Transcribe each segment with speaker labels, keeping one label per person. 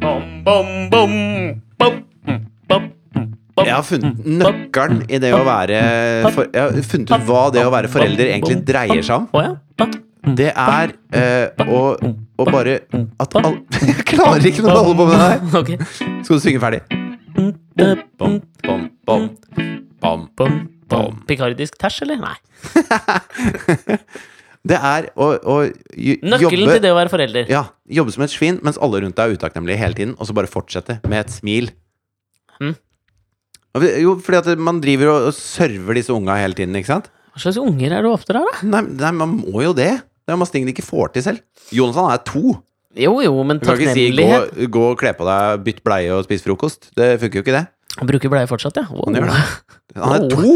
Speaker 1: bom, bom, bom, mm, bom, mm, bom.
Speaker 2: Jeg har funnet nøkkelen i det å være for, Jeg har funnet ut hva det å være forelder egentlig dreier seg om.
Speaker 1: Å ja. Bom, mm.
Speaker 2: Det er eh, å, å bare At alle Jeg klarer ikke å holde på med det her!
Speaker 1: Ok.
Speaker 2: Skal du synge ferdig?
Speaker 1: Mm, eh,
Speaker 2: Bom, bom, bom, bom.
Speaker 1: bom, bom.
Speaker 2: Bom.
Speaker 1: Pikardisk tæsj, eller? Nei.
Speaker 2: Det er å, å j-
Speaker 1: Nøkkelen
Speaker 2: jobbe
Speaker 1: til det å være forelder.
Speaker 2: Ja, jobbe som et svin mens alle rundt deg er utakknemlige hele tiden, og så bare fortsette med et smil.
Speaker 1: Mm.
Speaker 2: Og vi- Jo, fordi at man driver og, og server disse unga hele tiden, ikke sant?
Speaker 1: Hva slags unger er det ofte der, da?
Speaker 2: Nei, nei, man må jo det. Det er masse ting de ikke får til selv. Jonas han er to.
Speaker 1: Jo, jo, men
Speaker 2: Du kan ikke si gå,
Speaker 1: takknemlighet.
Speaker 2: gå og kle på deg, bytt bleie og spise frokost. Det funker jo ikke, det.
Speaker 1: Han bruker bleie fortsatt, ja. Wow.
Speaker 2: Han gjør det. Han er
Speaker 1: Oh.
Speaker 2: to!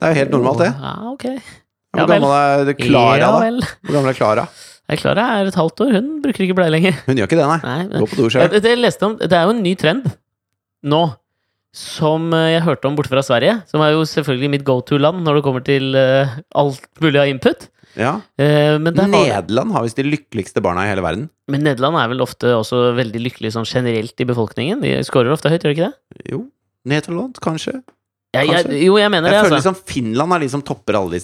Speaker 2: Det er jo helt normalt, det.
Speaker 1: Ja, ok. Ja
Speaker 2: Hvor
Speaker 1: vel.
Speaker 2: gammel er Klara,
Speaker 1: ja
Speaker 2: da?
Speaker 1: vel.
Speaker 2: Hvor gammel er Klara?
Speaker 1: Nei, Klara er et halvt år. Hun bruker ikke bleie lenger.
Speaker 2: Hun gjør ikke det, nei.
Speaker 1: Nei,
Speaker 2: Gå på do
Speaker 1: Ja,
Speaker 2: sjøl.
Speaker 1: det, det, jeg leste om, det er jo en ny trend nå, som eh, jeg hørte om borte fra Sverige. Som er jo selvfølgelig mitt go to-land når det kommer til eh, alt mulig av input.
Speaker 2: Ja.
Speaker 1: Eh, men, der var,
Speaker 2: Nederland har visst de lykkeligste barna i hele verden.
Speaker 1: men Nederland er vel ofte også veldig lykkelig sånn generelt i befolkningen. De scorer ofte høyt, gjør de ikke det?
Speaker 2: Jo, Nederland, kanskje.
Speaker 1: Jeg, jeg,
Speaker 2: Kanskje.
Speaker 1: jo, jeg mener
Speaker 2: Jeg
Speaker 1: det,
Speaker 2: føler
Speaker 1: altså.
Speaker 2: liksom Finland er de som topper alle de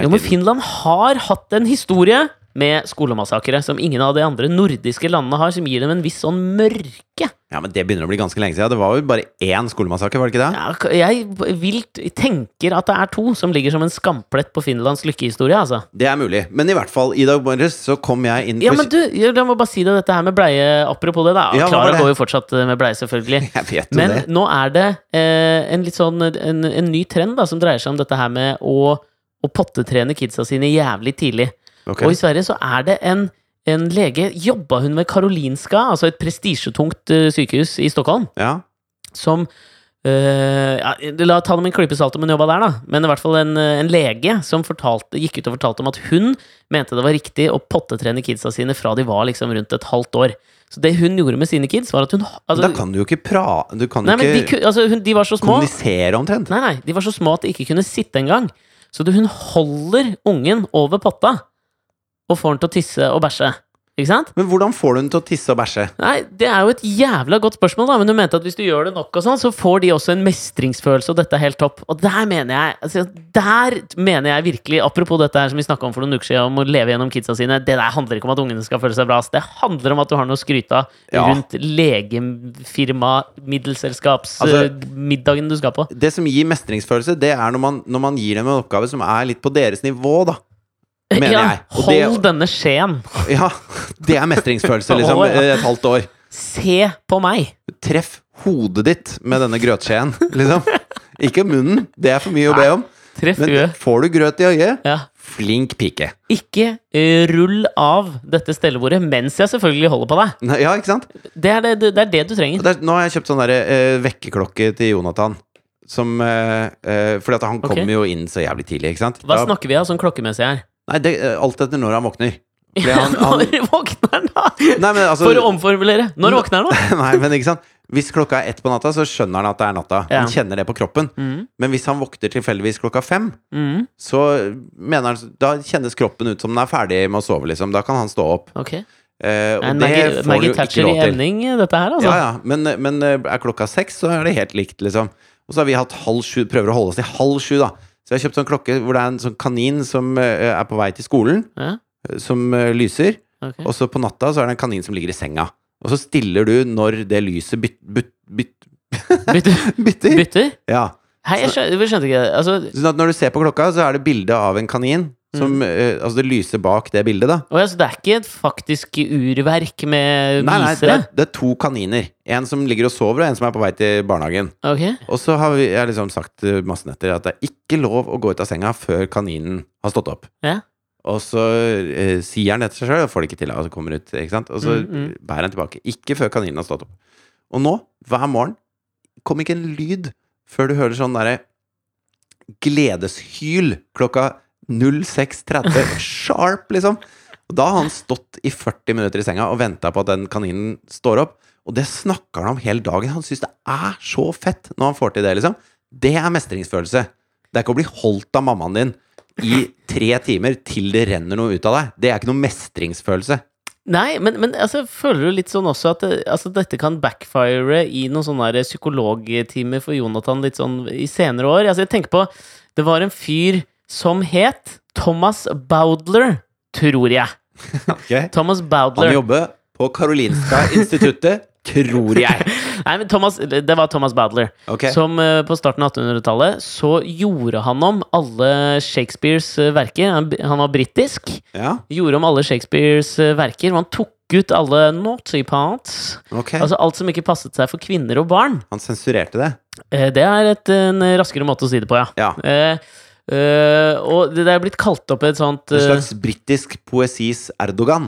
Speaker 1: Jo,
Speaker 2: hele
Speaker 1: men
Speaker 2: tiden.
Speaker 1: Finland har hatt en historie med skolemassakre som ingen av de andre nordiske landene har, som gir dem en viss sånn mørke.
Speaker 2: Ja, men Det begynner å bli ganske lenge siden. Det var jo bare én skolemassakre, var det ikke det?
Speaker 1: Ja, k- Jeg vilt tenker at det er to som ligger som en skamplett på Finlands lykkehistorie, altså.
Speaker 2: Det er mulig. Men i hvert fall, i dag morges så kom jeg inn
Speaker 1: Ja,
Speaker 2: på
Speaker 1: men du, jeg må bare si deg dette her med bleie. Apropos det, da.
Speaker 2: Ja, hva var
Speaker 1: Klara
Speaker 2: det?
Speaker 1: går jo fortsatt eh, med bleie, selvfølgelig.
Speaker 2: Jeg vet jo
Speaker 1: Men
Speaker 2: det.
Speaker 1: nå er det eh, en litt sånn en, en ny trend da, som dreier seg om dette her med å, å pottetrene kidsa sine jævlig tidlig.
Speaker 2: Ok.
Speaker 1: Og i Sverige så er det en, en lege Jobba hun ved Karolinska, altså et prestisjetungt eh, sykehus i Stockholm,
Speaker 2: Ja.
Speaker 1: som eh, ja, La ta det med en klype salt om hun jobba der, da. Men i hvert fall en, eh, en lege som fortalte, gikk ut og fortalte om at hun mente det var riktig å pottetrene kidsa sine fra de var liksom rundt et halvt år. Så det hun gjorde med sine kids, var at hun altså,
Speaker 2: Da kan du jo ikke pra... Du kan jo
Speaker 1: Nei, men de,
Speaker 2: ikke
Speaker 1: ku- altså, hun, de var så små
Speaker 2: kommunisere omtrent.
Speaker 1: Nei, nei, de var så små at de ikke kunne sitte engang. Så det, hun holder ungen over potta og får den til å tisse og bæsje. Ikke sant?
Speaker 2: Men hvordan får du den til å tisse og bæsje?
Speaker 1: Nei, Det er jo et jævla godt spørsmål, da, men hun mente at hvis du gjør det nok, og sånn, så får de også en mestringsfølelse, og dette er helt topp. Og der mener jeg altså, der mener jeg virkelig, apropos dette her som vi snakka om for noen uker siden, om å leve gjennom kidsa sine, det der handler ikke om at ungene skal føle seg bra. ass. Det handler om at du har noe å skryte av
Speaker 2: Ja.
Speaker 1: rundt legefirma,
Speaker 2: Altså-
Speaker 1: middelselskapsmiddagen du skal på.
Speaker 2: Det som gir mestringsfølelse, det er når man, når man gir dem en oppgave som er litt på deres nivå, da. Mener
Speaker 1: ja,
Speaker 2: jeg. Og det-
Speaker 1: Hold denne skjeen.
Speaker 2: Ja, det er mestringsfølelse, liksom.
Speaker 1: Å, ja.
Speaker 2: Et halvt år.
Speaker 1: Se på meg.
Speaker 2: Treff hodet ditt med denne grøtskjeen, liksom. Ikke munnen, det er for mye å be om.
Speaker 1: Treff
Speaker 2: Men
Speaker 1: huet.
Speaker 2: får du grøt i øyet,
Speaker 1: Ja.
Speaker 2: flink pike.
Speaker 1: Ikke eh, rull av dette stellebordet mens jeg selvfølgelig holder på deg.
Speaker 2: Nei, Ja, ikke sant?
Speaker 1: Det er det, det, er det du
Speaker 2: Og
Speaker 1: trenger.
Speaker 2: det er- nå har jeg kjøpt sånn derre eh, vekkerklokke til Jonathan. Som eh, eh, Fordi at han
Speaker 1: Ok.
Speaker 2: kommer jo inn så jævlig tidlig, ikke sant?
Speaker 1: Hva
Speaker 2: Da-
Speaker 1: snakker vi av sånn klokkemessig her?
Speaker 2: Nei, det, eh, alt etter når han våkner. Fordi han, han,
Speaker 1: Når våkner han, da?
Speaker 2: nei, men altså
Speaker 1: For å omformulere. Når våkner han, da?
Speaker 2: Nei, men ikke sant? Hvis klokka er ett på natta, så skjønner han at det er natta.
Speaker 1: Ja.
Speaker 2: Han kjenner det på kroppen.
Speaker 1: Mm,
Speaker 2: Men hvis han våkner tilfeldigvis klokka fem,
Speaker 1: mm,
Speaker 2: så mener han Da kjennes kroppen ut som den er ferdig med å sove, liksom. Da kan han stå opp.
Speaker 1: ok.
Speaker 2: Eh, og
Speaker 1: Er
Speaker 2: det
Speaker 1: Maggie,
Speaker 2: får du
Speaker 1: Maggie
Speaker 2: jo ikke
Speaker 1: Thatcher i
Speaker 2: lov til.
Speaker 1: emning, dette her,
Speaker 2: Ja,
Speaker 1: altså?
Speaker 2: ja. Men, men eh, er klokka seks, så er det helt likt, liksom. Og så har vi hatt halv sju, prøver å holde oss til halv sju, da. Så jeg har kjøpt sånn klokke hvor det er en sånn kanin som eh, er på vei til skolen,
Speaker 1: Ja,
Speaker 2: eh, som eh, lyser.
Speaker 1: ok.
Speaker 2: Og så på natta så er det en kanin som ligger i senga. Og så stiller du når det lyset byt, byt, byt,
Speaker 1: Bytter?
Speaker 2: bytter.
Speaker 1: Bytter?
Speaker 2: Ja.
Speaker 1: Hei, jeg skjønte, jeg skjønte ikke det. Altså,
Speaker 2: Sånn at når du ser på klokka, så er det bilde av en kanin. Som, eh, altså det lyser bak det bildet, da.
Speaker 1: å ja, så det er ikke et faktisk urverk med
Speaker 2: Nei, nei, det
Speaker 1: visere?
Speaker 2: er, det er to kaniner. En som ligger og sover, og en som er på vei til barnehagen.
Speaker 1: Ok.
Speaker 2: Og så har vi, jeg har liksom sagt eh, masse netter at det er ikke lov å gå ut av senga før kaninen har stått opp.
Speaker 1: Ja.
Speaker 2: Og så eh, sier han det til seg sjøl, og får det ikke til, og så kommer ut, ikke sant? Og så
Speaker 1: Mm, mm.
Speaker 2: bærer han tilbake. Ikke før kaninen har stått opp. Og nå, hver morgen, kom ikke en lyd før du hører sånn derre gledeshyl klokka 06.30 sharp, liksom. Og da har han stått i 40 minutter i senga og venta på at den kaninen står opp. Og det snakker han om hele dagen. Han syns det er så fett når han får til det, liksom. Det er mestringsfølelse. Det er ikke å bli holdt av mammaen din i tre timer til det renner noe ut av deg. Det er ikke noe mestringsfølelse.
Speaker 1: Nei, men, men altså, føler du litt sånn også at eh, altså, dette kan backfire i noen sånne der psykologtimer for Jonathan litt sånn i senere år? Altså, jeg tenker på Det var en fyr som het Thomas Bowdler, tror jeg.
Speaker 2: Ok.
Speaker 1: Thomas
Speaker 2: Han
Speaker 1: Bowdler.
Speaker 2: jobber på Karolinska instituttet, tror jeg.
Speaker 1: Nei, men Thomas, det var Thomas Bowdler.
Speaker 2: Ok.
Speaker 1: Som eh, på starten av 1800-tallet så gjorde han om alle Shakespeares eh, verker. Han, han var britisk.
Speaker 2: Ja,
Speaker 1: Gjorde om alle Shakespeares eh, verker. Og han tok ut alle naughty parts.
Speaker 2: ok.
Speaker 1: Altså alt som ikke passet seg for kvinner og barn.
Speaker 2: Han sensurerte det.
Speaker 1: Eh, Det er et, en raskere måte å si det på, ja.
Speaker 2: Ja.
Speaker 1: Eh, eh, og det det er blitt kalt opp et sånt
Speaker 2: En
Speaker 1: eh,
Speaker 2: slags britisk poesis Erdogan,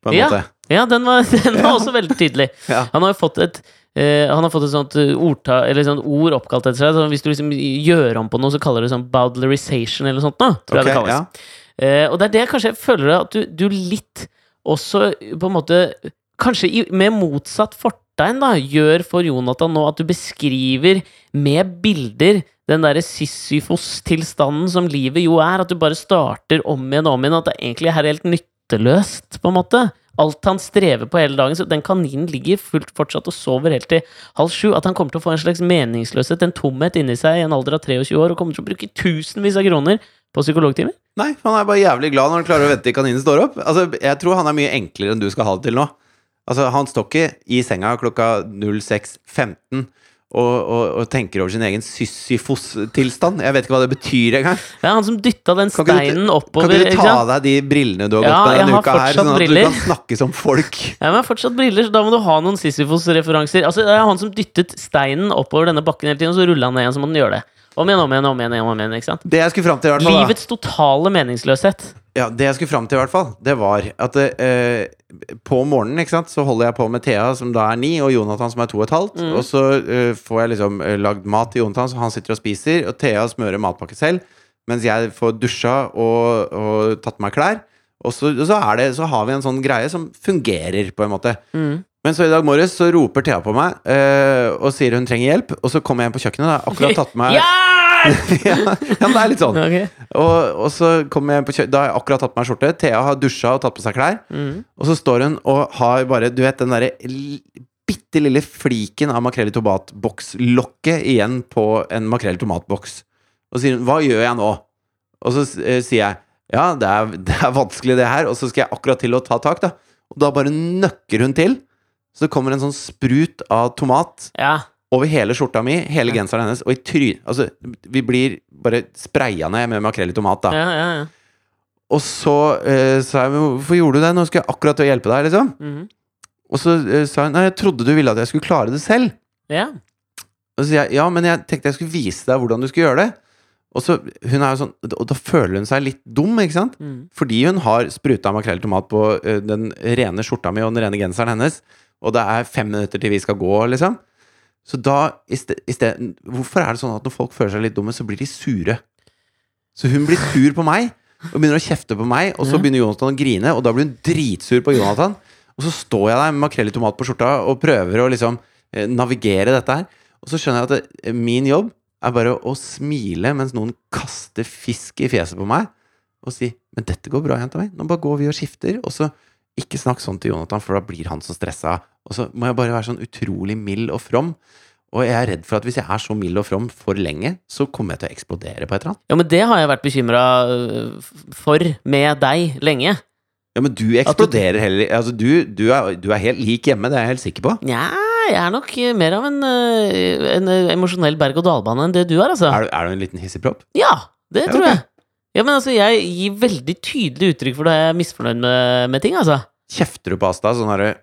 Speaker 2: på en
Speaker 1: Ja.
Speaker 2: måte.
Speaker 1: eh, Ja, den var, den var også veldig tydelig.
Speaker 2: Ja.
Speaker 1: Han har jo fått et eh, han har fått et sånt, eh, ordta, eller sånt ord oppkalt etter seg. Så hvis du liksom gjør om på noe, så kaller du det sånn bowdlerization eller noe sånt. Nå, tror
Speaker 2: Ok,
Speaker 1: jeg det kalles.
Speaker 2: ja.
Speaker 1: Eh, og det er det jeg kanskje jeg føler at du, du litt også på en måte Kanskje i, med motsatt fortegn da, gjør for Jonathan nå at du beskriver med bilder den derre Sisyfos-tilstanden som livet jo er. At du bare starter om igjen og om igjen. At det egentlig er helt nytteløst, på en måte. Alt han strever på hele dagen. Så den kaninen ligger fullt fortsatt og sover helt til halv sju. At han kommer til å få en slags meningsløshet, en tomhet inni seg i en alder av 23 år, og kommer til å bruke tusenvis av kroner på psykologtimer.
Speaker 2: Nei, for han er bare jævlig glad når han klarer å vente til kaninen står opp. Altså, jeg tror han er mye enklere enn du skal ha det til nå. Altså, han står ikke i senga klokka 06.15 og, og, og tenker over sin egen Sisyfos-tilstand. Jeg vet ikke hva det betyr engang.
Speaker 1: Det er han som dytta den
Speaker 2: Kan ikke du-
Speaker 1: steinen
Speaker 2: Kan
Speaker 1: oppover.
Speaker 2: ikke du
Speaker 1: ikke
Speaker 2: ta
Speaker 1: sant?
Speaker 2: av deg de brillene du har
Speaker 1: Ja,
Speaker 2: gått med
Speaker 1: jeg
Speaker 2: denne
Speaker 1: har
Speaker 2: uka her,
Speaker 1: fortsatt
Speaker 2: sånn at
Speaker 1: briller.
Speaker 2: du kan snakke som folk?
Speaker 1: Ja, men jeg har fortsatt briller, så da må du ha noen Sisyfos-referanser. Altså, det er han som dyttet steinen oppover denne bakken hele tiden, og så rulla han ned igjen som han gjør det. Om igjen, om igjen, om igjen. om igjen, ikke sant?
Speaker 2: Det jeg skulle fram til, i hvert fall, da.
Speaker 1: Livets totale meningsløshet.
Speaker 2: Ja, det jeg skulle fram til i hvert fall, det var at eh, på morgenen ikke sant, så holder jeg på med Thea, som da er ni, og Jonathan, som er to og et halvt. Og så eh, får jeg liksom eh, lagd mat til Jonathan, så han sitter og spiser, og Thea smører matpakke selv, mens jeg får dusja og, og tatt på meg klær. Og så, og så, er det, så har vi en sånn greie som fungerer, på en måte. Men så i dag morges så roper Thea på meg eh, og sier hun trenger hjelp. Og så kommer jeg inn på kjøkkenet, da. Akkurat tatt på meg
Speaker 1: Hjelp!
Speaker 2: ja, men det er litt sånn.
Speaker 1: Ok.
Speaker 2: Og, og så kommer jeg på kjø Da har jeg akkurat tatt på meg skjorte. Thea har dusja og tatt på seg klær.
Speaker 1: Mm.
Speaker 2: Og så står hun og har bare Du vet den derre l- bitte lille fliken av makrell i tomatbokslokket igjen på en makrell i tomatboks. Og så sier hun 'Hva gjør jeg nå?' Og så eh, sier jeg 'Ja, det er, det er vanskelig, det her', og så skal jeg akkurat til å ta tak, da. Og da bare nøkker hun til. Så kommer en sånn sprut av tomat
Speaker 1: Ja.
Speaker 2: over hele skjorta mi, hele genseren hennes, og i trynet Altså, vi blir bare spraya ned med makrell i tomat, da.
Speaker 1: Ja, ja, ja.
Speaker 2: Og så eh, sa jeg, men hvorfor gjorde du det? Nå skal jeg akkurat til å hjelpe deg, liksom.
Speaker 1: Mhm.
Speaker 2: Og så eh, sa hun, nei, jeg trodde du ville at jeg skulle klare det selv.
Speaker 1: ja.
Speaker 2: Og så sier jeg, ja, men jeg tenkte jeg skulle vise deg hvordan du skulle gjøre det. Og så, hun er jo sånn, og da føler hun seg litt dum, ikke sant?
Speaker 1: Mhm.
Speaker 2: Fordi hun har spruta makrell i tomat på eh, den rene skjorta mi og den rene genseren hennes, og det er fem minutter til vi skal gå, liksom. Så da, i ste- i ste- hvorfor er det sånn at når folk føler seg litt dumme, så blir de sure? Så hun blir sur på meg, og begynner å kjefte på meg, og så begynner Jonathan å grine, og da blir hun dritsur på Jonathan. Og så står jeg der med makrell i tomat på skjorta og prøver å liksom eh, navigere dette her. Og så skjønner jeg at det, min jobb er bare å smile mens noen kaster fisk i fjeset på meg og si 'Men dette går bra, jenta mi. Nå bare går vi og skifter.' Og så ikke snakk sånn til Jonathan, for da blir han så stressa. Og så må jeg bare være sånn utrolig mild og from. Og jeg er redd for at hvis jeg er så mild og from for lenge, så kommer jeg til å eksplodere på et eller annet.
Speaker 1: ja, men det har jeg vært bekymra for med deg lenge.
Speaker 2: Ja, men du eksploderer heller Altså, du, du, er, du er helt lik hjemme, det er jeg helt sikker på.
Speaker 1: Nja, jeg er nok eh, mer av en, eh, en eh, emosjonell berg-og-dal-bane enn det du er, altså.
Speaker 2: Er du, er du en liten hissigpropp?
Speaker 1: Ja, det
Speaker 2: Ja,
Speaker 1: tror
Speaker 2: ok.
Speaker 1: jeg. Ja, men altså, Jeg gir veldig tydelig uttrykk for da jeg er misfornøyd med, med ting. altså.
Speaker 2: Kjefter du på Asta sånn herre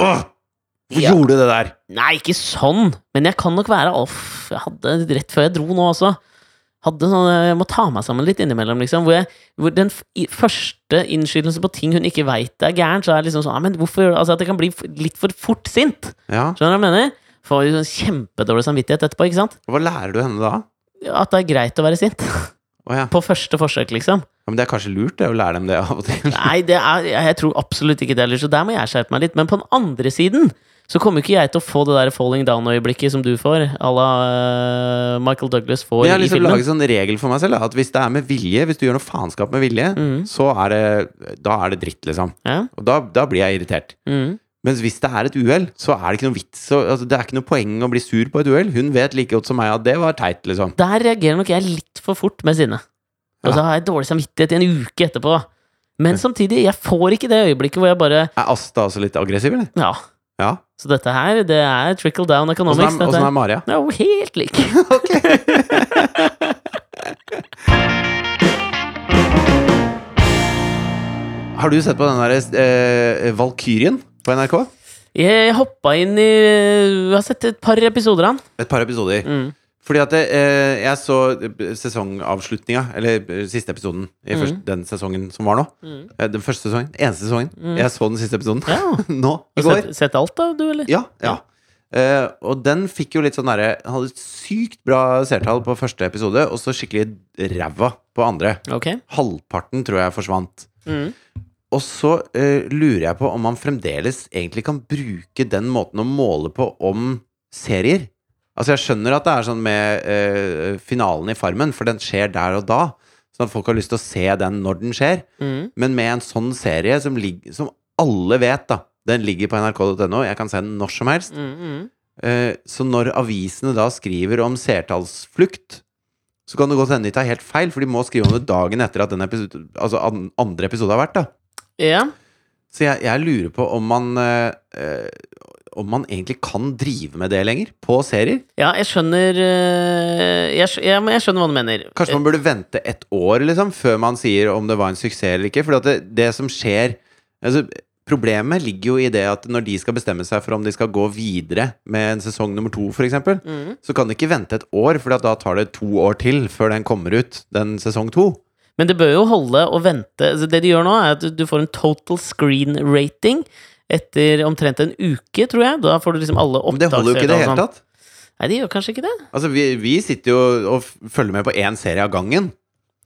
Speaker 2: Åh! Hvor
Speaker 1: Ja.
Speaker 2: gjorde du det der?
Speaker 1: Nei, ikke sånn, men jeg kan nok være off. Jeg hadde rett før jeg dro nå også. Hadde sånn, Jeg må ta meg sammen litt innimellom, liksom. Hvor, jeg, hvor den f i, første innskytelsen på ting hun ikke veit er gærent, så er det liksom sånn «Nei, men hvorfor gjør du det?» Altså, At jeg kan bli f- litt for fort sint.
Speaker 2: Ja.
Speaker 1: Skjønner du hva jeg mener? Får jo sånn kjempedårlig samvittighet etterpå, ikke sant?
Speaker 2: Hva lærer du henne da?
Speaker 1: At det er greit å være sint.
Speaker 2: Å ja.
Speaker 1: På første forsøk, liksom.
Speaker 2: ja. Men det er kanskje lurt, det, å lære dem det av og til.
Speaker 1: Nei, det er, jeg tror absolutt ikke det heller, så der må jeg skjerpe meg litt. Men på den andre siden så kommer ikke jeg til å få det der falling down-øyeblikket som du får, à la eh, Michael Douglas får
Speaker 2: Men jeg har
Speaker 1: i
Speaker 2: liksom
Speaker 1: filmen.
Speaker 2: laget sånn regel for meg selv da, At hvis det er med vilje, hvis du gjør noe faenskap med vilje
Speaker 1: Mhm.
Speaker 2: Så er det, da er det dritt liksom
Speaker 1: Ja?
Speaker 2: Og da, da blir jeg irritert
Speaker 1: Mm.
Speaker 2: Mens hvis det er et uhell, så er det ikke noe vits å- altså, Det er ikke noe poeng å bli sur på et uhell Hun vet like godt som meg at det var teit liksom
Speaker 1: Der reagerer nok jeg litt for fort med sinne. Og så
Speaker 2: Ja.
Speaker 1: har jeg dårlig samvittighet i en uke etterpå. Men samtidig, jeg får ikke det øyeblikket hvor jeg bare
Speaker 2: Er Asta også litt aggressiv, eller?
Speaker 1: Ja.
Speaker 2: Ja
Speaker 1: Så dette her, det er trickle down
Speaker 2: Åssen
Speaker 1: economics.
Speaker 2: er,
Speaker 1: Dette
Speaker 2: hvordan
Speaker 1: er
Speaker 2: er Maria?
Speaker 1: det er jo helt lik.
Speaker 2: Har du sett på den der eh, Valkyrien på NRK?
Speaker 1: Jeg hoppa inn i Jeg har sett et par episoder av den.
Speaker 2: Et par episoder
Speaker 1: Mm.
Speaker 2: Fordi at eh, jeg så eh, sesongavslutninga, eller eh, siste episoden i
Speaker 1: Mhm.
Speaker 2: først, den sesongen som var nå.
Speaker 1: Mm.
Speaker 2: Eh, Den første sesongen. Eneste sesongen.
Speaker 1: Mhm.
Speaker 2: Jeg så den siste episoden
Speaker 1: Ja.
Speaker 2: nå.
Speaker 1: Har
Speaker 2: I
Speaker 1: du
Speaker 2: går.
Speaker 1: sett, sett alt, da, du, eller?
Speaker 2: Ja, ja. Eh, og den fikk jo litt sånn derre den Hadde et sykt bra seertall på første episode, og så skikkelig ræva på andre.
Speaker 1: Ok.
Speaker 2: Halvparten tror jeg forsvant.
Speaker 1: Mm.
Speaker 2: Og så eh, lurer jeg på om man fremdeles egentlig kan bruke den måten å måle på om serier. Altså jeg skjønner at det er sånn med eh, finalen i Farmen, for den skjer der og da. Sånn at folk har lyst til å se den når den skjer.
Speaker 1: Mm.
Speaker 2: Men med en sånn serie som, ligger, som alle vet, da. Den ligger på nrk.no, jeg kan se den når som helst.
Speaker 1: Mm. Mm.
Speaker 2: Eh, så når avisene da skriver om seertallsflukt, så kan det godt hende de tar helt feil, for de må skrive om det dagen etter at den episode, altså an, andre episode har vært. da
Speaker 1: Ja.
Speaker 2: så jeg, jeg lurer på om man eh, eh, Om man egentlig kan drive med det lenger? På serier?
Speaker 1: ja, jeg skjønner eh, jeg, skj- ja, men jeg skjønner hva du mener.
Speaker 2: Kanskje man burde vente et år liksom, før man sier om det var en suksess eller ikke? For det, det som skjer altså, Problemet ligger jo i det at når de skal bestemme seg for om de skal gå videre med en sesong nummer to, f.eks., eksempel
Speaker 1: Mm.
Speaker 2: så kan de ikke vente et år, for da tar det to år til før den kommer ut, den sesong to.
Speaker 1: Men det bør jo holde å vente. Altså, det de gjør nå, er at du- du får en total screen rating etter omtrent en uke, tror jeg. Da får du liksom alle
Speaker 2: Men det holder jo ikke i det
Speaker 1: opptaksøyne og
Speaker 2: hele
Speaker 1: sånn.
Speaker 2: tatt.
Speaker 1: Nei, de gjør kanskje ikke det.
Speaker 2: Altså, vi, vi sitter jo og f- følger med på én serie av gangen.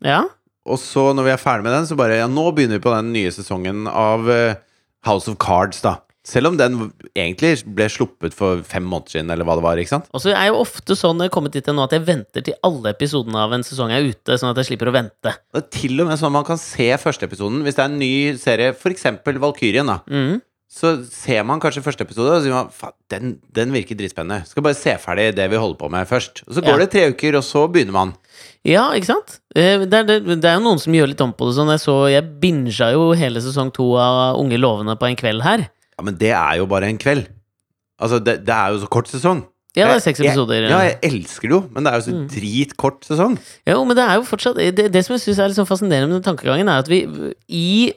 Speaker 1: Ja.
Speaker 2: Og så når vi er ferdig med den, så bare Ja, nå begynner vi på den nye sesongen av eh, House of Cards, da. Selv om den v- egentlig ble sluppet for fem måneder siden, eller hva det var. ikke sant?
Speaker 1: Og så er jo ofte sånn når jeg har kommet dit til nå at jeg venter til alle episodene av en sesong er ute, sånn at jeg slipper å vente.
Speaker 2: Det er til og med sånn man kan se første episoden. Hvis det er en ny serie, f.eks. Valkyrien, da.
Speaker 1: Mm.
Speaker 2: Så ser man kanskje første episode, og så sier man faen, den, den virker dritspennende. Skal bare se ferdig det vi holder på med først. Og så går
Speaker 1: Ja.
Speaker 2: det tre uker, og så begynner man.
Speaker 1: Ja, ikke sant? Eh, Det er, det, det er jo noen som gjør litt om på det. Sånn jeg så Jeg binga jo hele sesong to av Unge lovende på en kveld her.
Speaker 2: Ja, men det er jo bare en kveld. Altså, det, det er jo så kort sesong.
Speaker 1: Ja, Mm. det er
Speaker 2: Jeg-
Speaker 1: seks
Speaker 2: jeg-
Speaker 1: episoder.
Speaker 2: Eh, Ja, jeg elsker det jo, men det er jo så dritkort sesong.
Speaker 1: Jo, men det er jo fortsatt Det, det som jeg syns er litt sånn fascinerende med den tankegangen, er at vi i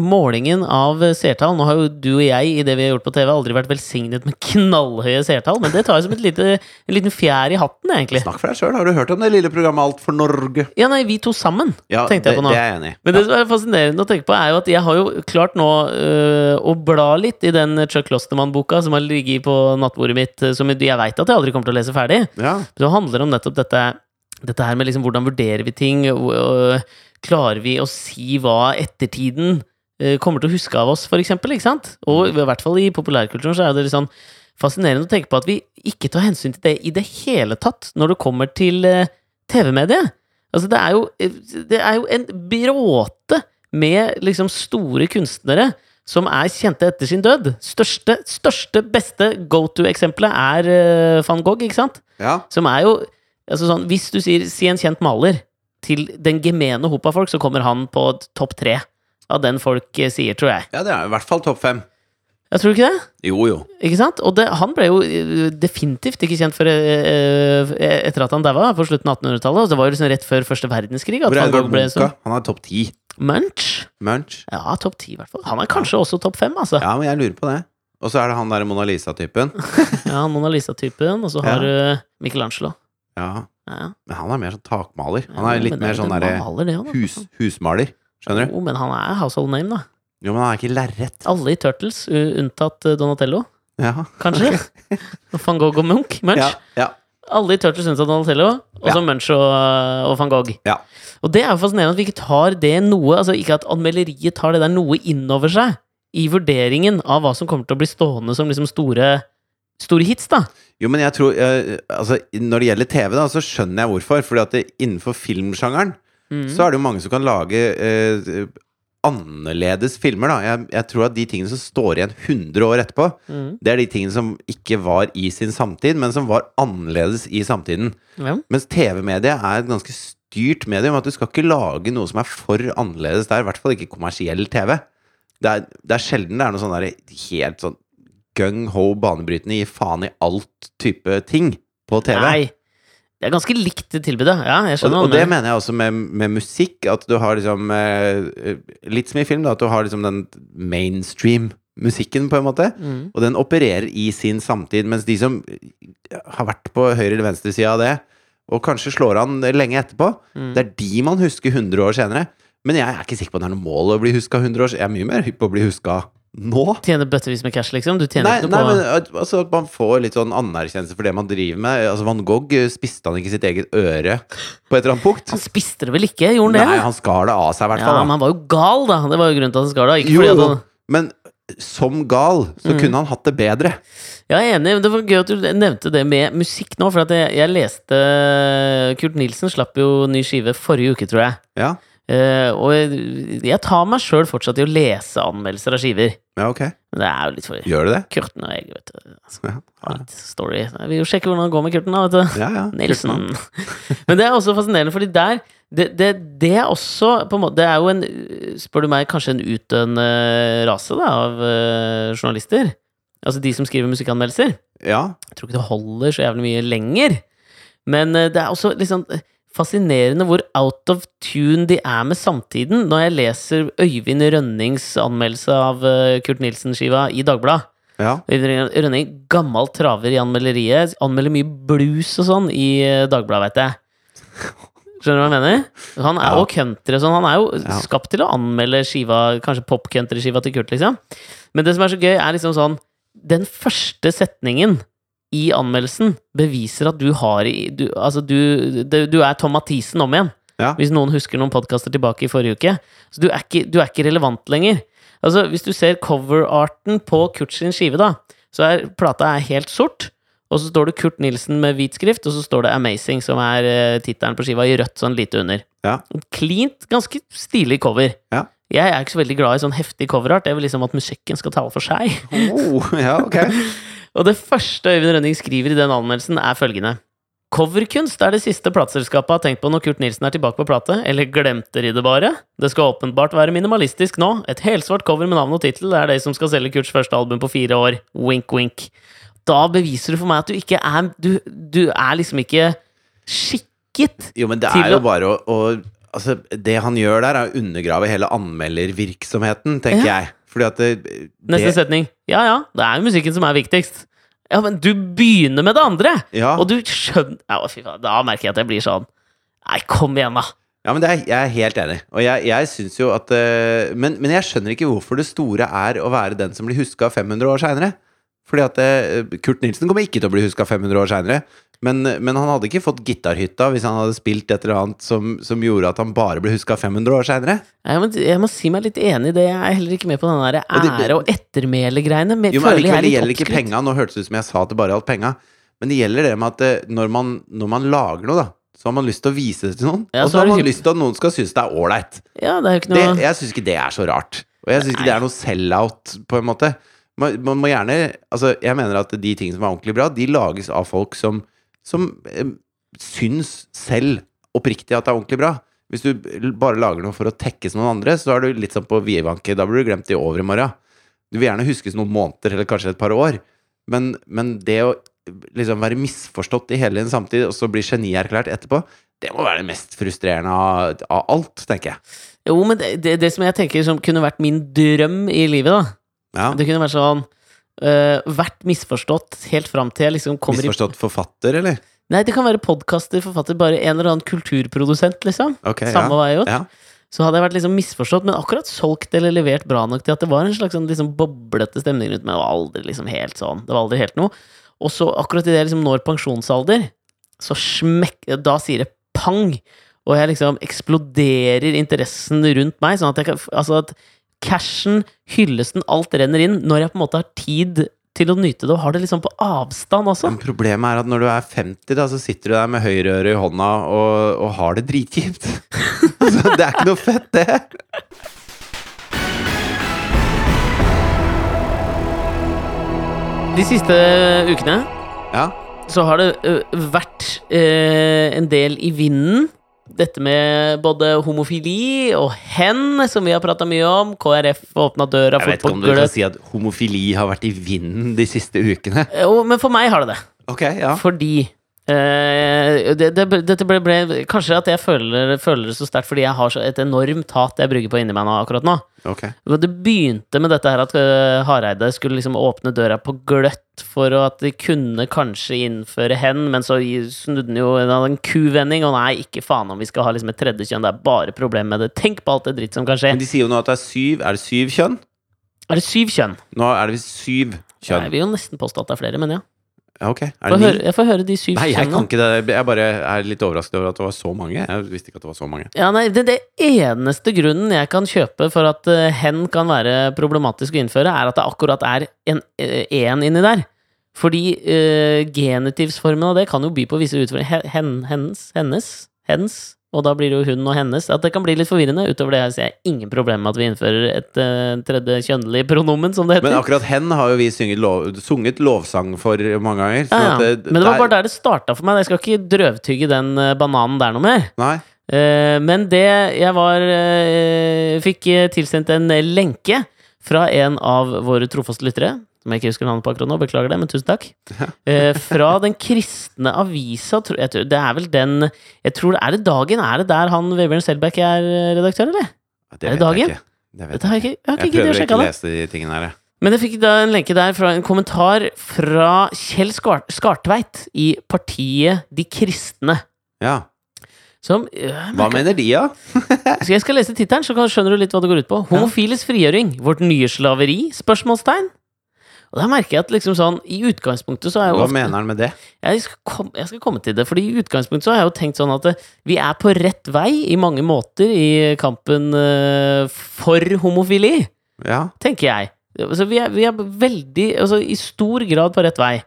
Speaker 1: målingen av seertall Nå har jo du og jeg i det vi har gjort på TV, aldri vært velsignet med knallhøye seertall, men det tar jeg som et lite, en liten fjær i hatten, egentlig.
Speaker 2: Snakk for deg sjøl, har du hørt om det lille programmet Alt for Norge?
Speaker 1: Ja, nei, vi to sammen,
Speaker 2: Ja,
Speaker 1: tenkte jeg
Speaker 2: det,
Speaker 1: på nå.
Speaker 2: det er jeg enig i.
Speaker 1: Men det som er fascinerende å tenke på, er jo at jeg har jo klart nå øh, å bla litt i den Chuck Klostermann-boka som har ligget på nattbordet mitt, øh, som jeg veit at jeg aldri kommer til å lese ferdig.
Speaker 2: Ja.
Speaker 1: Så det handler om nettopp dette, dette her med liksom hvordan vurderer vi ting, og, og klarer vi å si hva ettertiden eh, kommer til å huske av oss, for eksempel, ikke sant? Og i hvert fall i populærkulturen så er det litt sånn fascinerende å tenke på at vi ikke tar hensyn til det i det hele tatt når det kommer til eh, TV-mediet. Altså det er, jo, det er jo en bråte med liksom store kunstnere som er kjente etter sin død. Største, største, beste go to-eksempelet er eh, van Gogh, ikke sant?
Speaker 2: Ja.
Speaker 1: Som er jo altså sånn, Hvis du sier si en kjent maler til den gemene hop av folk, så kommer han på t- topp tre av den folk eh, sier, tror jeg.
Speaker 2: ja, det er i hvert fall topp fem.
Speaker 1: Jeg tror ikke det?
Speaker 2: Jo, jo.
Speaker 1: Ikke sant? Og det, han ble jo eh, definitivt ikke kjent for, eh, eh, etter at han daua på slutten av 1800-tallet. Og det var jo liksom rett før første verdenskrig. At
Speaker 2: Hvor er
Speaker 1: Van
Speaker 2: Edvard
Speaker 1: Gogh ble
Speaker 2: Munch? da?
Speaker 1: sånn
Speaker 2: Han er topp ti.
Speaker 1: Munch?
Speaker 2: Munch.
Speaker 1: Ja, topp ti, i hvert fall. Han er kanskje også topp fem, altså. Ja,
Speaker 2: Ja, men jeg lurer på det. Og så er det han derre Mona Lisa-typen.
Speaker 1: Mona Lisa-typen, og så har du Michelangelo.
Speaker 2: Ja,
Speaker 1: Ja,
Speaker 2: men han er mer sånn takmaler. Han
Speaker 1: ja,
Speaker 2: er litt
Speaker 1: men det er
Speaker 2: mer
Speaker 1: jo
Speaker 2: sånn
Speaker 1: det
Speaker 2: derre
Speaker 1: maler, det, han, da.
Speaker 2: hus, husmaler. Skjønner du?
Speaker 1: Jo, men han er household name, da.
Speaker 2: Jo, men han er ikke lerret.
Speaker 1: Alle i Turtles, u- unntatt eh, Donatello,
Speaker 2: Ja.
Speaker 1: kanskje? Van Gogh og Munch? Munch?
Speaker 2: Ja, ja.
Speaker 1: Alle i Turtles unntatt Donatello, og så
Speaker 2: Ja.
Speaker 1: Munch og, eh, og van Gogh.
Speaker 2: Ja.
Speaker 1: Og det er jo fascinerende at vi ikke tar det noe Altså ikke at anmelderiet tar det der noe innover seg i vurderingen av hva som kommer til å bli stående som liksom store, store hits, da.
Speaker 2: Jo, men jeg tror eh, Altså, når det gjelder TV, da, så skjønner jeg hvorfor. Fordi at det, innenfor filmsjangeren
Speaker 1: Mm.
Speaker 2: så er det jo mange som kan lage eh, annerledes filmer, da. Jeg, jeg tror at de tingene som står igjen 100 år etterpå,
Speaker 1: Mm.
Speaker 2: det er de tingene som ikke var i sin samtid, men som var annerledes i samtiden.
Speaker 1: Ja.
Speaker 2: Mens TV-mediet er et ganske styrt medium. At du skal ikke lage noe som er for annerledes der. I hvert fall ikke kommersiell TV. Det er, det er sjelden det er noe sånn der helt sånn gung-ho banebrytende gi faen i alt type ting på TV.
Speaker 1: Nei. Det er ganske likt det tilbudet. Ja, jeg
Speaker 2: Og,
Speaker 1: skjønner
Speaker 2: og
Speaker 1: hva
Speaker 2: det
Speaker 1: du mener.
Speaker 2: mener jeg også med, med musikk, at du har liksom eh, Litt som i film, da, at du har liksom den mainstream-musikken, på en måte.
Speaker 1: Mm.
Speaker 2: Og den opererer i sin samtid, mens de som eh, har vært på høyre- eller venstresida av det, og kanskje slår an lenge etterpå,
Speaker 1: Mm.
Speaker 2: det er de man husker 100 år senere. Men jeg er ikke sikker på om det er noe mål å bli huska 100 år senere. Jeg er mye mer hypp på å bli huska nå.
Speaker 1: Tjener bøttevis med cash, liksom? Du tjener
Speaker 2: Nei, nei,
Speaker 1: ikke noe på
Speaker 2: men at- altså, at man får litt sånn anerkjennelse for det man driver med. Altså, Van Gogh eh, spiste han ikke sitt eget øre på et eller annet punkt?
Speaker 1: Han spiste det vel ikke? Gjorde han
Speaker 2: Nei,
Speaker 1: det?
Speaker 2: han skar det av seg, i hvert
Speaker 1: Ja,
Speaker 2: fall. da.
Speaker 1: men han var jo gal, da. Det var jo grunnen til at han skar det. Ikke
Speaker 2: Jo,
Speaker 1: fordi at han... Mm.
Speaker 2: men som gal så kunne han hatt det bedre.
Speaker 1: Ja, Jeg er enig. men Det var gøy at du nevnte det med musikk nå. For at jeg, jeg leste Kurt Nilsen slapp jo ny skive forrige uke, tror jeg.
Speaker 2: Ja,
Speaker 1: Eh, og jeg, jeg tar meg sjøl fortsatt i å lese anmeldelser av skiver.
Speaker 2: ja ok.
Speaker 1: Men det er jo litt for
Speaker 2: Gjør det det?
Speaker 1: Kurten og jeg, vet du. Altså,
Speaker 2: Ja, ja.
Speaker 1: litt story. Jeg vil jo sjekke hvordan det går med Kurten, da, vet du.
Speaker 2: ja, ja.
Speaker 1: Nilsen. Men det er også fascinerende, fordi der det, det, det er også på en måte, Det er jo en, spør du meg, kanskje en utdøende rase da, av eh, journalister. Altså de som skriver musikkanmeldelser.
Speaker 2: Ja,
Speaker 1: Jeg tror ikke det holder så jævlig mye lenger. Men eh, det er også liksom eh, fascinerende hvor out of tune de er med samtiden. Når jeg leser Øyvind Rønnings anmeldelse av eh, Kurt Nilsen-skiva i Dagbladet.
Speaker 2: ja.
Speaker 1: Øyvind Rønning, gammel traver i anmelderiet. Anmelder mye blues og sånn i eh, Dagbladet, veit jeg. Skjønner du hva jeg mener? Han er
Speaker 2: Ja.
Speaker 1: jo country og sånn. Han er jo
Speaker 2: Ja.
Speaker 1: skapt til å anmelde skiva, kanskje pop-country-skiva til Kurt, liksom. Men det som er så gøy, er liksom sånn Den første setningen i anmeldelsen beviser at du har i du, Altså, du, det- du er Tom Mathisen om igjen.
Speaker 2: Ja.
Speaker 1: Hvis noen husker noen podkaster tilbake i forrige uke. Så du er ikke, du er ikke relevant lenger. Altså, hvis du ser coverarten på Kurt sin skive, da, så er plata er helt sort. Og så står det Kurt Nilsen med hvit skrift, og så står det Amazing, som er eh, tittelen på skiva, i rødt sånn lite under.
Speaker 2: Ja.
Speaker 1: Et Cleant, ganske stilig cover.
Speaker 2: Ja.
Speaker 1: Jeg er ikke så veldig glad i sånn heftig coverart. Jeg vil liksom at musikken skal tale for seg.
Speaker 2: Oh, ja, ok.
Speaker 1: Og det første Øyvind Rønning skriver i den anmeldelsen, er følgende. Coverkunst er det siste plateselskapet har tenkt på når Kurt Nilsen er tilbake på plate, eller glemte de det bare? Det skal åpenbart være minimalistisk nå. Et helsvart cover med navn og tittel er det som skal selge Kurts første album på fire år. Wink, wink. Da beviser du for meg at du ikke er Du, du er liksom ikke skikket.
Speaker 2: Jo, men det
Speaker 1: Til
Speaker 2: er jo
Speaker 1: å-
Speaker 2: bare å, å Altså, det han gjør der, er å undergrave hele anmeldervirksomheten, tenker
Speaker 1: Ja.
Speaker 2: jeg. Fordi at det,
Speaker 1: Neste
Speaker 2: det,
Speaker 1: setning. Ja ja, det er jo musikken som er viktigst. Ja, men du begynner med det andre!
Speaker 2: ja.
Speaker 1: Og du skjønner ja, å, fy faen, Da merker jeg at jeg blir sånn Nei, kom igjen, da!
Speaker 2: ja, men det er, jeg er helt enig. Og jeg, jeg syns jo at eh, men, men jeg skjønner ikke hvorfor det store er å være den som blir huska 500 år seinere. Fordi at eh, Kurt Nilsen kommer ikke til å bli huska 500 år seinere. Men, men han hadde ikke fått gitarhytta hvis han hadde spilt et eller annet som, som gjorde at han bare ble huska 500 år seinere.
Speaker 1: Jeg må, jeg må si meg litt enig i det. Jeg er heller ikke med på den der
Speaker 2: Og det-
Speaker 1: ære- og ettermæle-greiene. men
Speaker 2: Jo, men
Speaker 1: føler jeg er
Speaker 2: allikevel, det
Speaker 1: litt
Speaker 2: gjelder ikke
Speaker 1: oppskrytt.
Speaker 2: penga. Nå hørtes det ut som jeg sa at det bare gjaldt penga. Men det gjelder det med at eh, når man, når man lager noe, da, så har man lyst til å vise det til noen.
Speaker 1: Ja,
Speaker 2: og
Speaker 1: så er
Speaker 2: så har
Speaker 1: det
Speaker 2: man
Speaker 1: hypp-
Speaker 2: lyst til at noen skal synes det er ålreit.
Speaker 1: Ja, det er jo ikke
Speaker 2: Det-
Speaker 1: noe
Speaker 2: Jeg syns ikke det er så rart. Og jeg syns ikke det er noe sell-out, på en måte. Man, man må gjerne Altså, jeg mener at de tingene som er ordentlig bra, de lages av folk som, som eh, syns selv oppriktig at det er ordentlig bra. Hvis du l- bare lager noe for å tekkes noen andre, så er du litt sånn på vidvanke. Da blir du glemt i overmorgen. Du vil gjerne huskes noen måneder, eller kanskje et par år. Men, men det å liksom være misforstått i hele din samtid, og så bli genierklært etterpå, det må være det mest frustrerende av, av alt, tenker jeg.
Speaker 1: Jo, men det, det, det som jeg tenker som kunne vært min drøm i livet, da
Speaker 2: Ja.
Speaker 1: Det kunne vært sånn øh, Vært misforstått helt fram til jeg liksom kommer i
Speaker 2: Misforstått forfatter, eller?
Speaker 1: Nei, det kan være podkaster, forfatter, bare en eller annen kulturprodusent, liksom.
Speaker 2: Ok,
Speaker 1: Samme vei ut.
Speaker 2: ja.
Speaker 1: Så hadde jeg vært liksom misforstått, men akkurat solgt eller levert bra nok til at det var en slags sånn liksom boblete stemning rundt meg. Det var aldri liksom helt sånn. Det var aldri helt noe. Og så akkurat idet jeg liksom når pensjonsalder, så smekk Da sier det pang! Og jeg liksom eksploderer interessen rundt meg, sånn at jeg kan Altså at cashen, hyllesten, alt renner inn når jeg på en måte har tid til å nyte det, og har det liksom på avstand også.
Speaker 2: Men problemet er at når du er 50, da, så sitter du der med høyreøret i hånda og, og har det dritkjipt. altså, det er ikke noe fett, det.
Speaker 1: De siste ukene
Speaker 2: Ja,
Speaker 1: så har det ø, vært ø, en del i vinden. Dette med både homofili og hen, som vi har prata mye om. KrF åpna døra,
Speaker 2: jeg vet ikke om du kan
Speaker 1: fotballgløtt
Speaker 2: si at homofili har vært i vinden de siste ukene.
Speaker 1: Jo, Men for meg har det det.
Speaker 2: Ok, ja.
Speaker 1: Fordi eh, det, det, Dette ble, ble Kanskje at jeg føler, føler det så sterkt fordi jeg har så et enormt hat jeg brygger på inni meg nå, akkurat nå.
Speaker 2: Ok.
Speaker 1: Og Det begynte med dette her at eh, Hareide skulle liksom åpne døra på gløtt for at de kunne kanskje innføre hen, men så i- snudde han jo en, en kuvending, og nei, ikke faen om vi skal ha liksom et tredje kjønn, det er bare problem med det. Tenk på alt det dritt som kan skje.
Speaker 2: Men de sier jo nå at det er syv. Er det syv kjønn?
Speaker 1: Er det syv kjønn?
Speaker 2: Nå er det visst syv
Speaker 1: Jeg
Speaker 2: kjønn.
Speaker 1: vil jo nesten påstå at det er flere, men ja.
Speaker 2: Ja, Ok, er
Speaker 1: Få
Speaker 2: det
Speaker 1: høre,
Speaker 2: ni?
Speaker 1: jeg får høre de syv
Speaker 2: Nei, jeg kan
Speaker 1: kjønnene.
Speaker 2: ikke det. Jeg bare er litt overrasket over at det var så mange. Jeg visste ikke at det var så mange.
Speaker 1: Ja, nei, det, det eneste grunnen jeg kan kjøpe for at eh, hen kan være problematisk å innføre, er at det akkurat er en eh, en inni der. Fordi eh, genitivsformen av det kan jo by på visse utfordringer. Hen, hennes, hennes, hens, og da blir det jo hun og hennes. At det kan bli litt forvirrende. Utover det her ser jeg ingen problem med at vi innfører et eh, tredje kjønnelig pronomen, som det
Speaker 2: Men
Speaker 1: heter.
Speaker 2: akkurat hen har jo vi sunget, lov, sunget lovsang for mange ganger.
Speaker 1: ja,
Speaker 2: sånn
Speaker 1: ja.
Speaker 2: at
Speaker 1: Men det var
Speaker 2: der-
Speaker 1: bare der det starta for meg. Jeg skal ikke drøvtygge den eh, bananen der noe mer.
Speaker 2: Nei.
Speaker 1: Eh, men det jeg var eh, Fikk eh, tilsendt en lenke fra en av våre trofaste lyttere. Som jeg ikke husker navnet på akkurat nå, beklager det, men tusen takk. Eh, fra den kristne avisa tror, jeg tror, Det er vel den jeg tror, Er det Dagen? Er det der han Vebjørn Selbekk er eh, redaktør, eller?
Speaker 2: Det
Speaker 1: Er det
Speaker 2: vet jeg
Speaker 1: dagen?
Speaker 2: ikke. Det vet
Speaker 1: Dette har jeg ikke, jeg har
Speaker 2: Jeg
Speaker 1: ikke giddet å
Speaker 2: prøver å
Speaker 1: sjekke
Speaker 2: ikke
Speaker 1: det.
Speaker 2: lese de tingene her. jeg.
Speaker 1: Men jeg fikk da en lenke der fra en kommentar fra Kjell Skar- Skartveit i partiet De kristne.
Speaker 2: Ja.
Speaker 1: Som øh,
Speaker 2: Hva mener de, da?
Speaker 1: Så Altså, jeg skal lese tittelen, så kan- skjønner du litt hva det går ut på. 'Homofiles frigjøring. Vårt nye slaveri?' spørsmålstegn. Og da merker jeg at liksom sånn, i utgangspunktet så er jo
Speaker 2: Hva
Speaker 1: ofte-
Speaker 2: mener han med det?
Speaker 1: jeg skal, komme, jeg skal komme til det, fordi i utgangspunktet så har jeg jo tenkt sånn at eh, vi er på rett vei i mange måter i kampen eh, for homofili,
Speaker 2: Ja.
Speaker 1: tenker jeg. Altså, vi, er, vi er veldig, altså i stor grad på rett vei.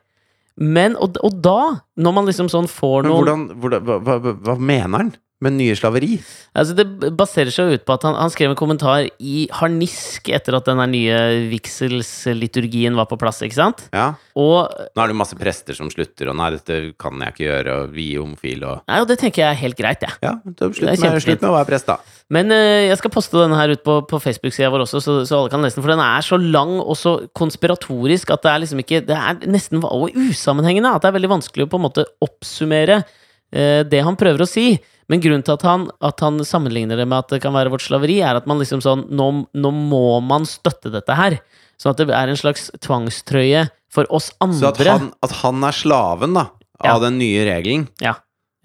Speaker 1: Men, og, og da, når man liksom sånn får
Speaker 2: Men
Speaker 1: noen
Speaker 2: hvordan, hvordan hva, hva, hva- hva mener han med nye slaveri?
Speaker 1: Altså det baserer seg jo ut på at han, han skrev en kommentar i harnisk etter at den her nye vigselsliturgien var på plass, ikke sant?
Speaker 2: Ja.
Speaker 1: Og,
Speaker 2: Nå er det jo masse prester som slutter, og nei, dette kan jeg ikke gjøre, og vi er homofile, og
Speaker 1: nei, og det tenker jeg er helt greit, jeg.
Speaker 2: Ja, da
Speaker 1: Det
Speaker 2: slutt
Speaker 1: er
Speaker 2: med,
Speaker 1: kjempefint.
Speaker 2: slutt med å være prest, da.
Speaker 1: Men eh, jeg skal poste denne her ut på, på Facebook-sida vår også, så, så alle kan lese den. For den er så lang og så konspiratorisk at det er liksom ikke Det er nesten va- og usammenhengende. At det er veldig vanskelig å på en måte oppsummere eh, det han prøver å si. Men grunnen til at han, at han sammenligner det med at det kan være vårt slaveri, er at man liksom sånn Nå, nå må man støtte dette her. Sånn at det er en slags tvangstrøye for oss
Speaker 2: Så at
Speaker 1: andre.
Speaker 2: han, at han er slaven, da,
Speaker 1: Ja.
Speaker 2: av den nye regelen
Speaker 1: Ja,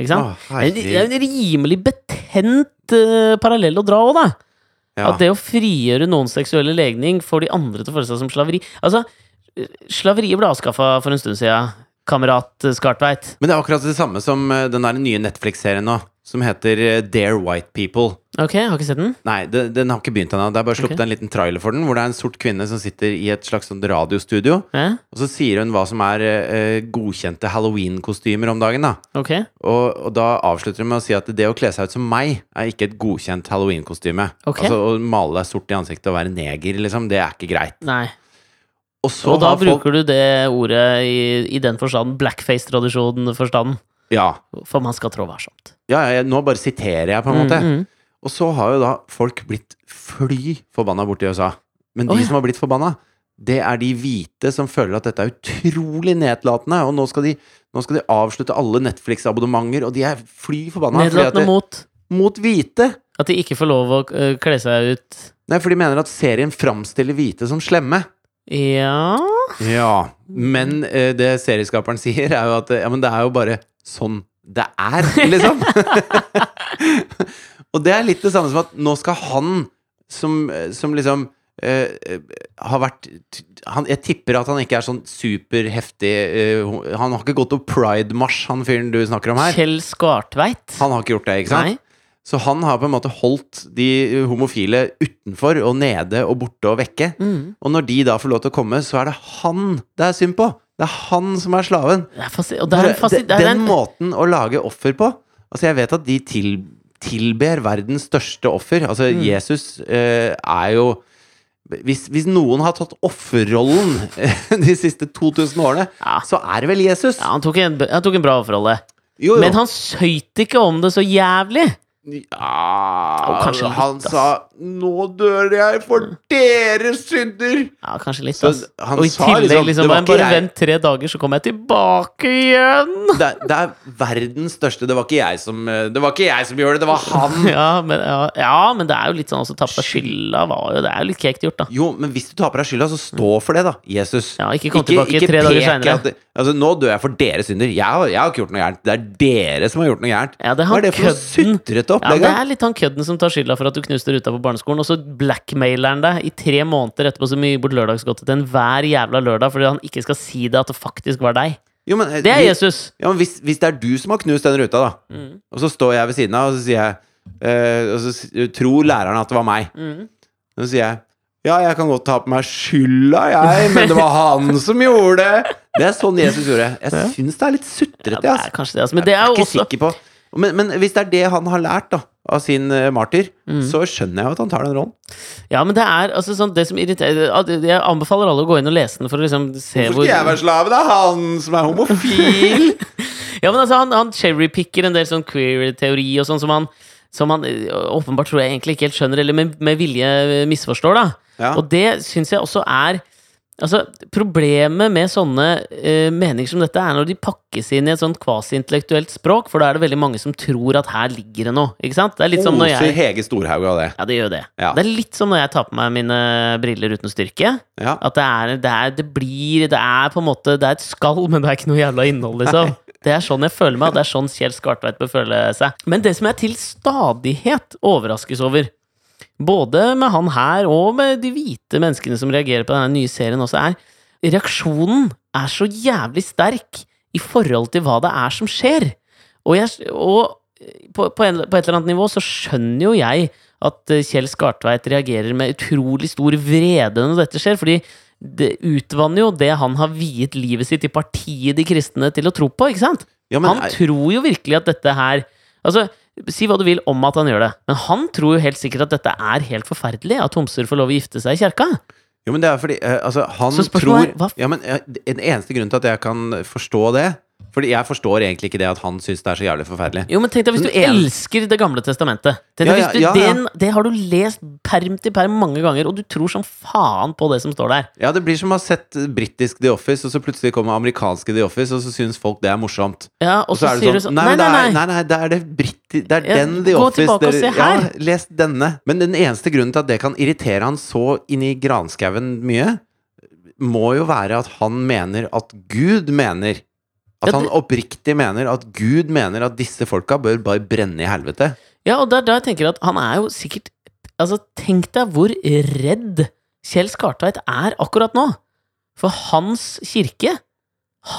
Speaker 1: ikke sant?
Speaker 2: Å,
Speaker 1: Det er en- det er
Speaker 2: herregud.
Speaker 1: en rimelig betent eh, parallell å dra òg, da.
Speaker 2: Ja.
Speaker 1: At det å frigjøre noens seksuelle legning får de andre til å føle seg som slaveri. Altså, slaveriet ble avskaffa for en stund siden, kamerat eh, Skartveit.
Speaker 2: Men det er akkurat det samme som eh, den der nye Netflix-serien nå, som heter eh, Dare White People.
Speaker 1: Ok, jeg har ikke sett den.
Speaker 2: Nei, den, den har ikke begynt ennå. Det er bare sluppet
Speaker 1: Ok.
Speaker 2: en liten trailer for den, hvor det er en sort kvinne som sitter i et slags sånn radiostudio,
Speaker 1: Eh?
Speaker 2: og så sier hun hva som er eh, godkjente halloween-kostymer om dagen, da.
Speaker 1: Ok.
Speaker 2: Og, og da avslutter hun med å si at det å kle seg ut som meg, er ikke et godkjent halloween-kostyme.
Speaker 1: Ok.
Speaker 2: Altså å male deg sort i ansiktet og være neger, liksom, det er ikke greit.
Speaker 1: Nei.
Speaker 2: Og så
Speaker 1: og da
Speaker 2: har folk
Speaker 1: bruker du det ordet i, i den forstanden, blackface-tradisjonen-forstanden.
Speaker 2: ja.
Speaker 1: For man skal trå varsomt.
Speaker 2: Ja, ja, ja, nå bare siterer jeg, på en måte.
Speaker 1: Mm, mm.
Speaker 2: Og så har jo da folk blitt fly forbanna borti USA. Men de
Speaker 1: Å, ja.
Speaker 2: som har blitt forbanna, det er de hvite som føler at dette er utrolig nedlatende. Og nå skal de, nå skal de avslutte alle Netflix-abonnementer, og de er fly forbanna. fordi at
Speaker 1: Nedlatende
Speaker 2: det-
Speaker 1: mot
Speaker 2: mot hvite!
Speaker 1: at de ikke får lov å eh, kle seg ut
Speaker 2: Nei, for de mener at serien framstiller hvite som slemme.
Speaker 1: Ja
Speaker 2: Ja,
Speaker 1: Mm.
Speaker 2: men eh, det serieskaperen sier, er jo at eh, ja, men det er jo bare sånn det er, liksom. og det er litt det samme som at nå skal han som, eh, som liksom eh, eh, har vært t- han, Jeg tipper at han ikke er sånn superheftig eh, ho- Han har ikke gått på pridemarsj, han fyren du snakker om her.
Speaker 1: Kjell Skartveit.
Speaker 2: Han har ikke gjort det, ikke sant?
Speaker 1: Nei.
Speaker 2: Så han har på en måte holdt de homofile utenfor og nede og borte og vekke.
Speaker 1: Mm.
Speaker 2: Og når de da får lov til å komme, så er det han det er synd på! Det er han som er slaven.
Speaker 1: Det er fasi... Og det er en fasi...
Speaker 2: den,
Speaker 1: Det er en...
Speaker 2: måten å lage offer på Altså, jeg vet at de til, tilber verdens største offer. Altså,
Speaker 1: Mm.
Speaker 2: Jesus eh, er jo hvis, hvis noen har tatt offerrollen de siste 2000 årene,
Speaker 1: Ja.
Speaker 2: så er det vel Jesus!
Speaker 1: Ja, han tok en, han tok en bra overrolle.
Speaker 2: Jo, jo.
Speaker 1: Men han søyt ikke om det så jævlig.
Speaker 2: Ja
Speaker 1: Og kanskje litt,
Speaker 2: Han
Speaker 1: ass. Mm.
Speaker 2: sa 'Nå dør jeg for deres synder'!
Speaker 1: Ja, kanskje litt,
Speaker 2: Så
Speaker 1: ass.
Speaker 2: han
Speaker 1: Og i
Speaker 2: sa
Speaker 1: tillegg,
Speaker 2: liksom,
Speaker 1: liksom,
Speaker 2: det var
Speaker 1: bare, bare
Speaker 2: ikke jeg.
Speaker 1: vent tre dager, så kommer jeg tilbake igjen!
Speaker 2: Det, er- det er verdens største Det var ikke jeg som eh, Det var ikke jeg som gjorde det, det var han!
Speaker 1: Ja, men, ja, ja, men det er jo litt sånn også tapt av skylda var jo Det er jo litt kekt gjort, da.
Speaker 2: Jo, men hvis du taper deg skylda, så stå for det, da, Jesus.
Speaker 1: Ja, ikke kom tilbake tre dager
Speaker 2: pek
Speaker 1: senere.
Speaker 2: at det- Altså, nå dør jeg for deres synder. Jeg, har- jeg har ikke gjort noe gærent. Det er dere som har gjort noe gærent.
Speaker 1: Ja, det er
Speaker 2: Hva
Speaker 1: han
Speaker 2: er det for noe
Speaker 1: kødden.
Speaker 2: sutrete
Speaker 1: Ja,
Speaker 2: opplegg?
Speaker 1: det
Speaker 2: da?
Speaker 1: er litt han kødden som tar skylda for at du knuste ruta på barneskolen, og så blackmailer han deg i tre måneder etterpå som gir bort lørdagsgodtet til en hver jævla lørdag fordi han ikke skal si det at det faktisk var deg.
Speaker 2: Jo, men, eh,
Speaker 1: Det er
Speaker 2: vi-
Speaker 1: Jesus!
Speaker 2: Ja, men hvis, hvis det er du som har knust den ruta, da,
Speaker 1: Mm.
Speaker 2: og så står jeg ved siden av, og så sier jeg eh, Og så s- tror læreren at det var meg.
Speaker 1: Mm.
Speaker 2: Og så sier jeg ja, jeg kan godt ta på meg skylda, jeg, men det var han som gjorde det! Det er sånn Jesus gjorde. Jeg syns det er litt sutrete,
Speaker 1: Ja, det
Speaker 2: altså.
Speaker 1: er kanskje det, altså. Men det er
Speaker 2: Jeg er
Speaker 1: jo
Speaker 2: ikke
Speaker 1: også
Speaker 2: sikker på men, men hvis det er det han har lært da av sin eh, martyr,
Speaker 1: Mm.
Speaker 2: så skjønner jeg jo at han tar den rollen.
Speaker 1: Ja, men det er altså sånn Det som irriterer at- Jeg anbefaler alle å gå inn og lese den for å liksom se hvor
Speaker 2: slave? Det er han som er homofil!
Speaker 1: Ja, men altså, han, han cherrypicker en del sånn queer-teori og sånn som han, som han ø, åpenbart tror jeg egentlig ikke helt skjønner, eller med, med vilje ø, misforstår, da.
Speaker 2: Ja.
Speaker 1: Og det syns jeg også er Altså, Problemet med sånne ø, meninger som dette er når de pakkes inn i et sånt kvasiintellektuelt språk, for da er det veldig mange som tror at her ligger det noe. ikke sant? Det er litt som når
Speaker 2: Oser
Speaker 1: jeg
Speaker 2: Hege Storhaug av det.
Speaker 1: Ja, det gjør jo det.
Speaker 2: Ja.
Speaker 1: Det er litt som når jeg tar på meg mine briller uten styrke.
Speaker 2: Ja.
Speaker 1: At det er, det er Det blir Det er på en måte Det er et skall, men det er ikke noe jævla innhold, liksom. Det er sånn jeg føler meg, og det er sånn Kjell Skartveit bør føle seg. Men det som jeg til stadighet overraskes over, både med han her og med de hvite menneskene som reagerer på denne nye serien også, er reaksjonen er så jævlig sterk i forhold til hva det er som skjer. Og, jeg, og eh, på, på, en, på et eller annet nivå så skjønner jo jeg at eh, Kjell Skartveit reagerer med utrolig stor vrede når dette skjer, fordi det utvanner jo det han har viet livet sitt i partiet de kristne til å tro på, ikke sant?
Speaker 2: Ja, men,
Speaker 1: han tror jo virkelig at dette her Altså, si hva du vil om at han gjør det, men han tror jo helt sikkert at dette er helt forferdelig, at homser får lov å gifte seg i kjerka.
Speaker 2: Jo, men det er fordi eh, altså, han
Speaker 1: Så
Speaker 2: tror
Speaker 1: spørsmålet er, hva-
Speaker 2: ja, men, eh, En eneste grunn til at jeg kan forstå det Fordi jeg forstår egentlig ikke det at han syns det er så jævlig forferdelig.
Speaker 1: Jo, men tenk deg hvis du
Speaker 2: Men en-
Speaker 1: elsker Det gamle testamentet. Tenk
Speaker 2: Ja,
Speaker 1: deg
Speaker 2: ja,
Speaker 1: hvis du,
Speaker 2: ja, ja.
Speaker 1: Den, det har du lest perm til perm mange ganger, og du tror som faen på det som står der.
Speaker 2: Ja, Det blir som å ha sett britisk The Office, og så plutselig kommer amerikanske The Office, og så syns folk det er morsomt.
Speaker 1: Ja, og
Speaker 2: Og så
Speaker 1: så
Speaker 2: er det
Speaker 1: sier du sånn
Speaker 2: sånn
Speaker 1: Nei,
Speaker 2: nei, men
Speaker 1: nei,
Speaker 2: det er-
Speaker 1: nei.
Speaker 2: nei, nei, det er, det britti, det er
Speaker 1: Ja,
Speaker 2: den The
Speaker 1: gå
Speaker 2: Office
Speaker 1: tilbake og se
Speaker 2: ja,
Speaker 1: her.
Speaker 2: les denne. Men den eneste grunnen til at det kan irritere han så inn i granskauen mye, må jo være at han mener at Gud mener
Speaker 1: Ja,
Speaker 2: At han
Speaker 1: det-
Speaker 2: oppriktig mener at Gud mener at disse folka bør bare brenne i helvete.
Speaker 1: Ja, og det er da jeg tenker at han er jo sikkert Altså, tenk deg hvor redd Kjell Skartveit er akkurat nå. For hans kirke,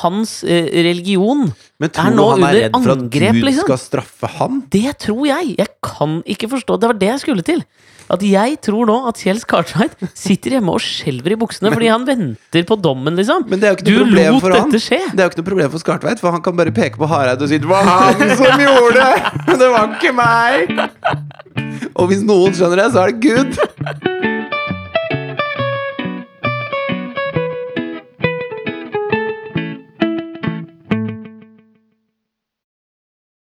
Speaker 1: hans eh, religion,
Speaker 2: Men
Speaker 1: Er
Speaker 2: tror du
Speaker 1: nå
Speaker 2: han er
Speaker 1: under
Speaker 2: redd for at
Speaker 1: angrep,
Speaker 2: Gud
Speaker 1: liksom?
Speaker 2: skal straffe han?
Speaker 1: det tror jeg! Jeg kan ikke forstå Det var det jeg skulle til. At jeg tror nå at Kjell Skartveit sitter hjemme og skjelver i buksene fordi han venter på dommen, liksom.
Speaker 2: Men det er jo ikke
Speaker 1: Du
Speaker 2: noe problem
Speaker 1: lot
Speaker 2: for han.
Speaker 1: dette skje!
Speaker 2: Det er jo ikke noe problem for Skartveit, for han kan bare peke på Hareide og si 'Det var han som gjorde det! Det var ikke meg!' Og hvis noen skjønner det, så er det Gud.